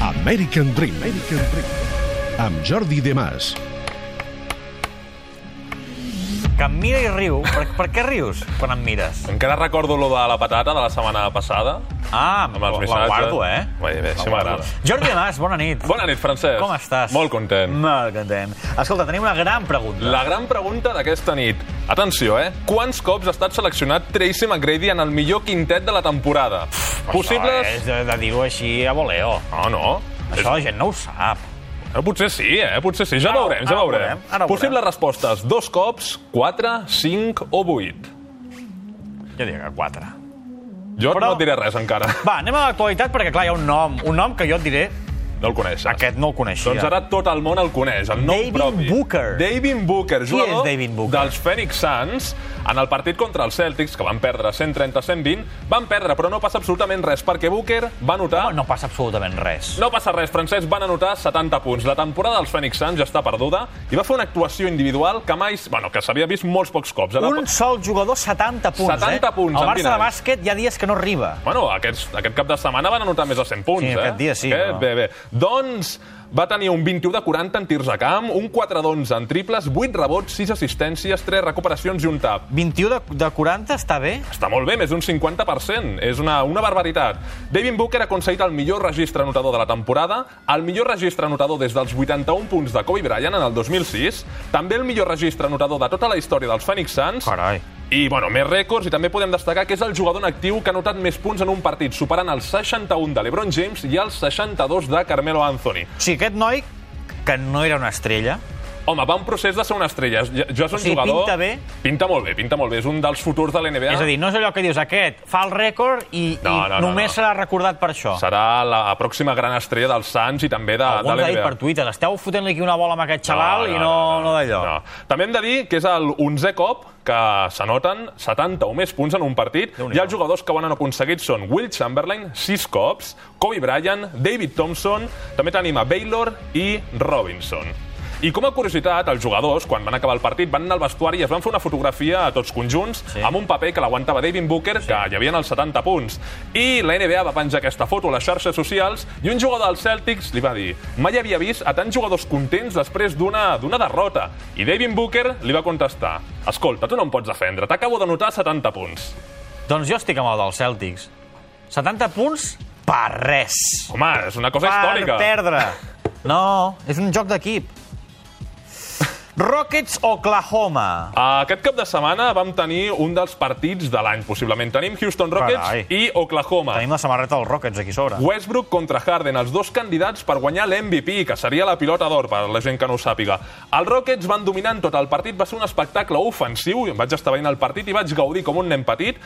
American Dream. American Dream. Amb Jordi Demàs. Que em mira i riu. Per, per què rius quan em mires? Encara recordo lo de la patata de la setmana passada. Ah, Amb els la- missatges. la guardo, eh? Bé, bé, La això guardo. m'agrada. Jordi Mas, bona nit. Bona nit, Francesc. Com estàs? Molt content. Molt content. Escolta, tenim una gran pregunta. La gran pregunta d'aquesta nit. Atenció, eh? Quants cops ha estat seleccionat Tracy McGrady en el millor quintet de la temporada? Possibles... Això és de, de dir-ho així a voleo. No, no. Això la gent no ho sap. Eh, Potser sí, eh? Potser sí. Ja Ara ho- veurem, ja ara ho veurem. veurem, ara ho Possibles respostes. Dos cops, quatre, cinc o vuit. Jo diria que quatre. Jo Però- no et diré res encara. Va, anem a l'actualitat, perquè, clar, hi ha un nom. Un nom que jo et diré, No el coneixes. aquest no el coneixia. Doncs ara tot el món el coneix, el nom David propi. Booker. David Booker, jugador és David Booker? dels Phoenix Suns, en el partit contra els Celtics, que van perdre 130-120, van perdre, però no passa absolutament res, perquè Booker va anotar... No passa absolutament res. No passa res, Francesc van anotar 70 punts. La temporada dels Phoenix Suns ja està perduda i va fer una actuació individual que mai... Bueno, que s'havia vist molts pocs cops. eh? Ara- Un sol jugador, 70 punts, 70 eh? punts, El en Barça de vinagre. bàsquet hi ha dies que no arriba. Bueno, aquests, aquest cap de setmana van anotar més de 100 punts, Sí, eh? aquest dia sí, Aquest, però- Bé, bé. Doncs va tenir un 21 de 40 en tirs a camp, un 4 d'11 en triples, 8 rebots, 6 assistències, 3 recuperacions i un tap. 21 de, de 40 està bé? Està molt bé, més d'un 50%. És una, una barbaritat. David Booker ha aconseguit el millor registre anotador de la temporada, el millor registre anotador des dels 81 punts de Kobe Bryant en el 2006, també el millor registre anotador de tota la història dels Phoenix Suns, Carai. i, bueno, més rècords, i també podem destacar que és el jugador en actiu que ha anotat més punts en un partit, superant el 61 de LeBron James i el 62 de Carmelo Anthony. Sí, aquest noi, que no era una estrella, Home, va un procés de ser una estrella. Ja, ja és un O sigui, jugador... pinta bé? Pinta molt bé, pinta molt bé. És un dels futurs de l'NBA. és a dir, no és allò que dius, aquest fa el rècord i, No, i no, no, només no. serà recordat per això. Serà la pròxima gran estrella dels Suns i també de, Algú de ens ha dit l'NBA. per Twitter, esteu fotent-li aquí una bola amb aquest xaval i no, no, d'allò. no. També hem de dir que és el 11è cop que s'anoten 70 o més punts en un partit Déu-n'hi-do. i els jugadors que ho han aconseguit són Will Chamberlain, 6 cops, Kobe Bryant, David Thompson, també tenim a Baylor i Robinson. I com a curiositat, els jugadors, quan van acabar el partit, van anar al vestuari i es van fer una fotografia a tots conjunts Sí. sí. amb un paper que l'aguantava David Booker, sí. que hi havia els 70 punts. I la NBA va penjar aquesta foto a les xarxes socials i un jugador dels Celtics li va dir mai havia vist a tants jugadors contents després d'una d'una derrota. I David Booker li va contestar escolta, tu no em pots defendre, t'acabo de notar 70 punts. Doncs jo estic amb el dels Celtics. 70 punts per res. Home, és una cosa històrica. Per perdre. No, és un joc d'equip. Rockets Oklahoma. Aquest cap de setmana vam tenir un dels partits de l'any, possiblement. Tenim Houston Rockets Carai. i Oklahoma. Tenim la samarreta dels Rockets aquí sobre. Westbrook contra Harden, els dos candidats per guanyar l'MVP, que seria la pilota d'or, per la gent que no ho sàpiga. Els Rockets van dominant tot el partit, va ser un espectacle ofensiu, vaig estar veient el partit i vaig gaudir com un nen petit.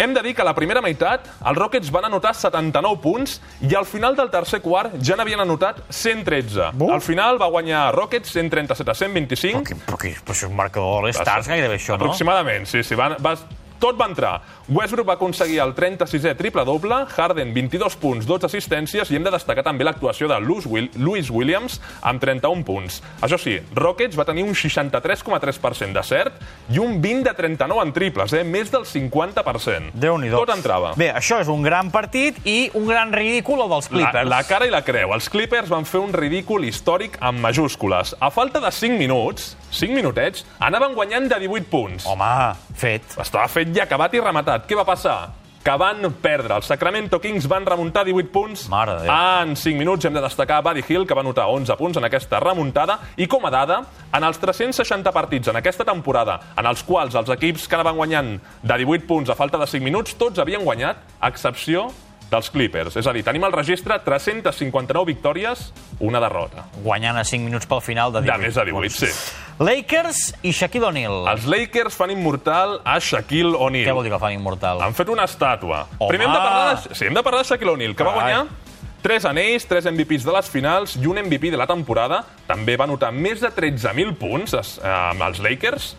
Hem de dir que a la primera meitat els Rockets van anotar 79 punts i al final del tercer quart ja n'havien anotat 113. Buf. Al final va guanyar Rockets 137 a Però, 125. qui, però, qui, però això és un marcador de l'Stars, gairebé això, no? Aproximadament, sí, sí. Va, va, tot va entrar. Westbrook va aconseguir el 36è triple-doble, Harden 22 punts, 12 assistències i hem de destacar també l'actuació de Lewis, Will, Lewis Williams amb 31 punts. Això sí, Rockets va tenir un 63,3% de cert i un 20 de 39 en triples, eh? més del 50%. Déu-n'hi-do. Tot entrava. Bé, això és un gran partit i un gran ridícul, el dels La, Clippers. la cara i la creu. Els Clippers van fer un ridícul històric amb majúscules. A falta de 5 minuts, 5 minutets, anaven guanyant de 18 punts. Home, fet. Estava fet i acabat i rematat. Què va passar? Que van perdre. Els Sacramento Kings van remuntar 18 punts Mare de Déu. en 5 minuts. Hem de destacar Buddy Hill, que va anotar 11 punts en aquesta remuntada. I com a dada, en els 360 partits en aquesta temporada, en els quals els equips que anaven guanyant de 18 punts a falta de 5 minuts, tots havien guanyat, a excepció dels Clippers. És a dir, tenim al registre 359 victòries, una derrota. Guanyant a 5 minuts pel final de 18. De més de 18, sí. Lakers i Shaquille O'Neal. Els Lakers fan immortal a Shaquille O'Neal. Què vol dir que el fan immortal? Han fet una estàtua. Home! Primer hem de parlar de, sí, hem de, parlar de Shaquille O'Neal, que va Carai. guanyar 3 anells, 3 MVPs de les finals i un MVP de la temporada. També va anotar més de 13.000 punts es- eh, amb els Lakers.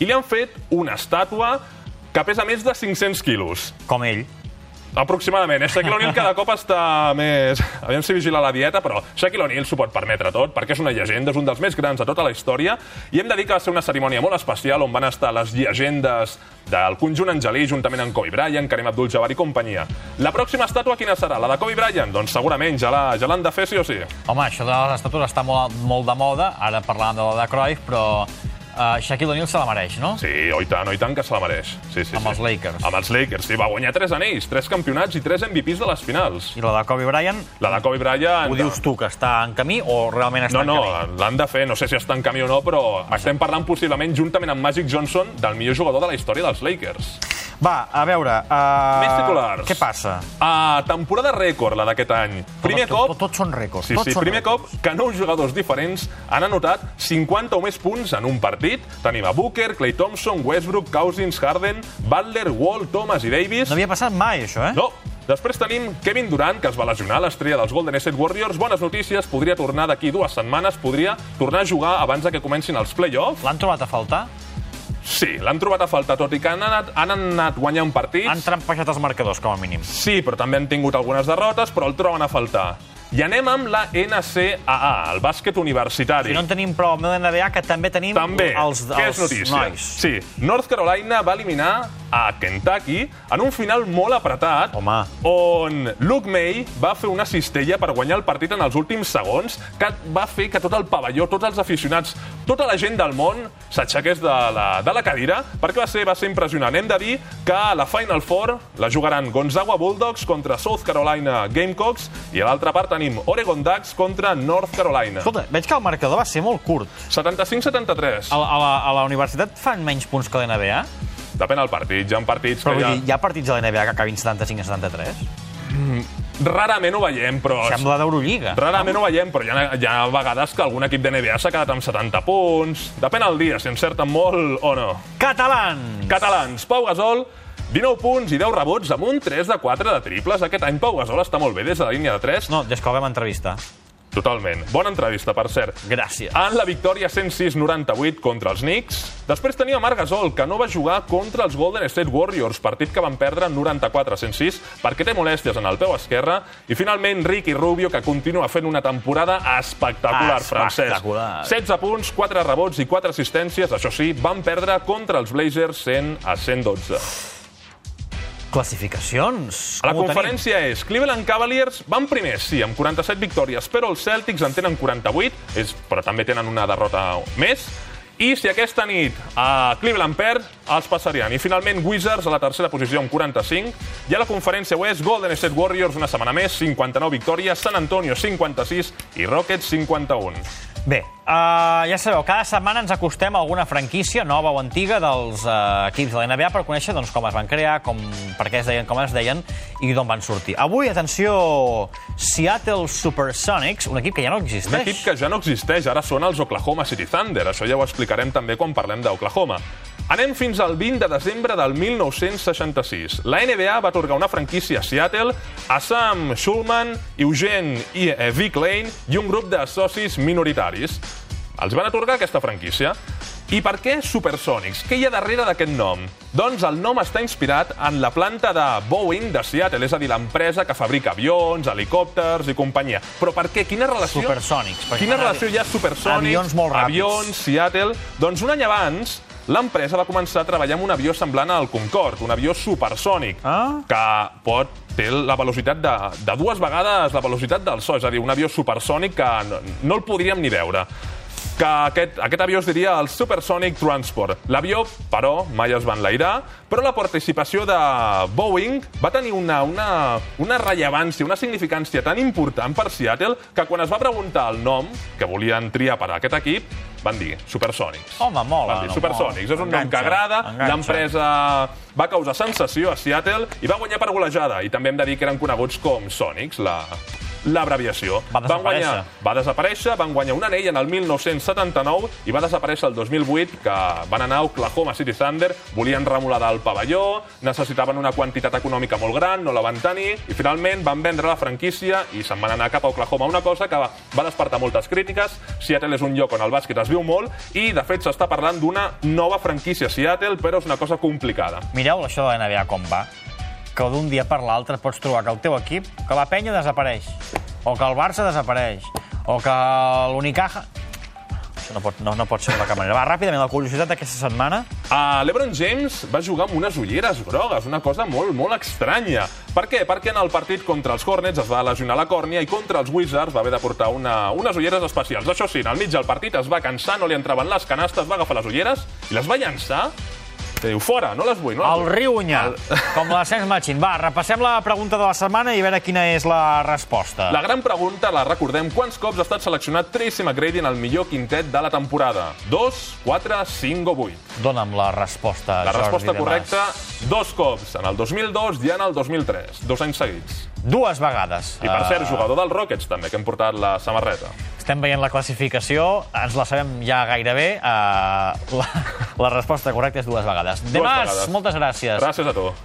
I li han fet una estàtua que pesa més de 500 quilos. Com ell. Aproximadament. Eh? Shaquille O'Neal cada cop està més... Aviam si vigila la dieta, però Shaquille O'Neal s'ho pot permetre tot, perquè és una llegenda, és un dels més grans de tota la història, i hem de dir que va ser una cerimònia molt especial on van estar les llegendes del conjunt angelí, juntament amb Kobe Bryant, Karim Abdul-Jabbar i companyia. La pròxima estàtua quina serà? La de Kobe Bryant? Doncs segurament ja la- ja l'han ja de fer sí o sí. Home, això de les estàtues està molt, molt de moda, ara parlàvem de la de Cruyff, però uh, Shaquille O'Neal se la mereix, no? Sí, oi tant, oi tant que se la mereix. Sí, sí, Amb sí. els Lakers. Amb els Lakers, sí. Va guanyar 3 anells, 3 campionats i 3 MVPs de les finals. I la de Kobe Bryant, La de Kobe Bryant... ho dius tu, que està en camí o realment està No, no, en camí? l'han de fer, no sé si està en camí o no, però estem parlant possiblement, juntament amb Magic Johnson, del millor jugador de la història dels Lakers. Va, a veure... Més Uh, titulars. què passa? Ah, temporada rècord, la d'aquest any. Primer tot, cop... Tot, tots són rècords. Sí, tots sí, són primer rècords. cop que nou jugadors diferents han anotat 50 o més punts en un partit. Tenim a Booker, Clay Thompson, Westbrook, Cousins, Harden, Butler, Wall, Thomas i Davis. No havia passat mai, això, eh? No. Després tenim Kevin Durant, que es va lesionar, l'estrella dels Golden State Warriors. Bones notícies, podria tornar d'aquí dues setmanes, podria tornar a jugar abans de que comencin els play-offs. L'han trobat a faltar? Sí, l'han trobat a falta, tot i que han anat, han anat guanyant partits. Han trampejat els marcadors, com a mínim. Sí, però també han tingut algunes derrotes, però el troben a faltar. I anem amb la NCAA, el bàsquet universitari. I no en tenim prou amb l'NBA, que també tenim També, els, què és els notícia? nois. Sí, North Carolina va eliminar a Kentucky en un final molt apretat, Home. on Luke May va fer una cistella per guanyar el partit en els últims segons, que va fer que tot el pavelló, tots els aficionats, tota la gent del món s'aixequés de, la, de la cadira, perquè va ser, va ser impressionant. Hem de dir que a la Final Four la jugaran Gonzaga Bulldogs contra South Carolina Gamecocks i a l'altra part tenim Oregon Ducks contra North Carolina. Escolta, veig que el marcador va ser molt curt. 75-73. A, la- a, la, a la universitat fan menys punts que l'NBA? Depèn del partit. Hi ha partits Però que vull ja... dir, hi ha partits de l'NBA que acabin 75 a 73? Rarament ho veiem, però... Sembla d'Eurolliga. Rarament ho veiem, però hi ha, hi ha vegades que algun equip de NBA s'ha quedat amb 70 punts. Depèn del dia, si encerten molt o no. Catalans! Catalans, Pau Gasol, 19 punts i 10 rebots amb un 3 de 4 de triples. Aquest any Pau Gasol està molt bé des de la línia de 3. No, des que el vam entrevistar. Totalment. Bona entrevista, per cert. Gràcies. en la victòria 106-98 contra els Knicks. Després tenia Marc Gasol, que no va jugar contra els Golden State Warriors, partit que van perdre 94-106 perquè té molèsties en el peu esquerre. I finalment Ricky Rubio, que continua fent una temporada espectacular, Espectacular. francès. 16 punts, 4 rebots i 4 assistències. Això sí, van perdre contra els Blazers 100 a 112. Classificacions. A la Com ho tenim? conferència és Cleveland Cavaliers van primers, sí, amb 47 victòries, però els Celtics en tenen 48, és, però també tenen una derrota més. I si aquesta nit a Cleveland perd, els passarien. I finalment Wizards a la tercera posició amb 45. I a la conferència oest, Golden State Warriors una setmana més, 59 victòries, San Antonio 56 i Rockets 51. Bé, uh, ja sabeu, cada setmana ens acostem a alguna franquícia nova o antiga dels uh, equips de la NBA per conèixer doncs, com es van crear, com, per què es deien, com es deien i d'on van sortir. Avui, atenció, Seattle Supersonics, un equip que ja no existeix. Un equip que ja no existeix, ara són els Oklahoma City Thunder. Això ja ho explicarem també quan parlem d'Oklahoma. Anem fins al 20 de desembre del 1966. La NBA va atorgar una franquícia a Seattle a Sam Schulman, Eugene i eh, Vic Lane i un grup de socis minoritaris. Els van atorgar aquesta franquícia. I per què Supersonics? Què hi ha darrere d'aquest nom? Doncs el nom està inspirat en la planta de Boeing de Seattle, és a dir, l'empresa que fabrica avions, helicòpters i companyia. Però per què? Quina relació? Supersonics, perquè Quina fan avi- relació hi ha Supersonics? avions molt ràpids. Avions, Seattle... Doncs un any abans, l'empresa va començar a treballar amb un avió semblant al Concorde, un avió supersònic, Ah. que pot té la velocitat de, de dues vegades la velocitat del so, és a dir, un avió supersònic que no, no el podríem ni veure. Que aquest, aquest avió es diria el Supersonic Transport. L'avió, però, mai es va enlairar, però la participació de Boeing va tenir una, una, una rellevància, una significància tan important per Seattle que quan es va preguntar el nom que volien triar per a aquest equip, van dir Supersonics. Home, mola, Van dir no, Supersonics. mola. És un nom que Enganxa, agrada, enganxa. l'empresa eh, va causar sensació a Seattle i va guanyar per golejada. I també hem de dir que eren coneguts com Sonics, la l'abreviació. Va Van guanyar, desaparèixer. va desaparèixer, van guanyar un anell en el 1979 i va desaparèixer el 2008, que van anar a Oklahoma City Thunder, volien remoladar el pavelló, necessitaven una quantitat econòmica molt gran, no la van tenir, i finalment van vendre la franquícia i se'n van anar cap a Oklahoma. Una cosa que va, va despertar moltes crítiques. Seattle és un lloc on el bàsquet es viu molt i, de fet, s'està parlant d'una nova franquícia a Seattle, però és una cosa complicada. Mireu això de la NBA com va. que d'un dia per l'altre pots trobar que el teu equip, que la penya desapareix, o que el Barça desapareix, o que l'Unicaja... Això no pot, no, no pot ser de cap manera. Va, ràpidament, la curiositat d'aquesta setmana. Uh, L'Ebron James va jugar amb unes ulleres grogues, una cosa molt, molt estranya. Per què? Perquè en el partit contra els Hornets es va lesionar la còrnia i contra els Wizards va haver de portar una, unes ulleres especials. Això sí, en el mig del partit es va cansar, no li entraven les canastes, va agafar les ulleres i les va llançar. I diu, fora, no les vull. No les El vull. riu Unyà, com l'ascens Machin. Va, repassem la pregunta de la setmana i a veure quina és la resposta. La gran pregunta, la recordem, quants cops ha estat seleccionat Tracy McGrady en el millor quintet de la temporada? 2, 4, 5 o 8? Dóna'm la resposta, La Jordi resposta de Mas. correcta, dos cops, en el 2002 i en el 2003, dos anys seguits. Dues vegades. I per Eh, cert, jugador del Rockets també, que hem portat la samarreta. Estem veient la classificació, ens la sabem ja gairebé. Uh, la, la resposta correcta és dues vegades. Demàs, vegades. moltes gràcies. Gràcies a tu.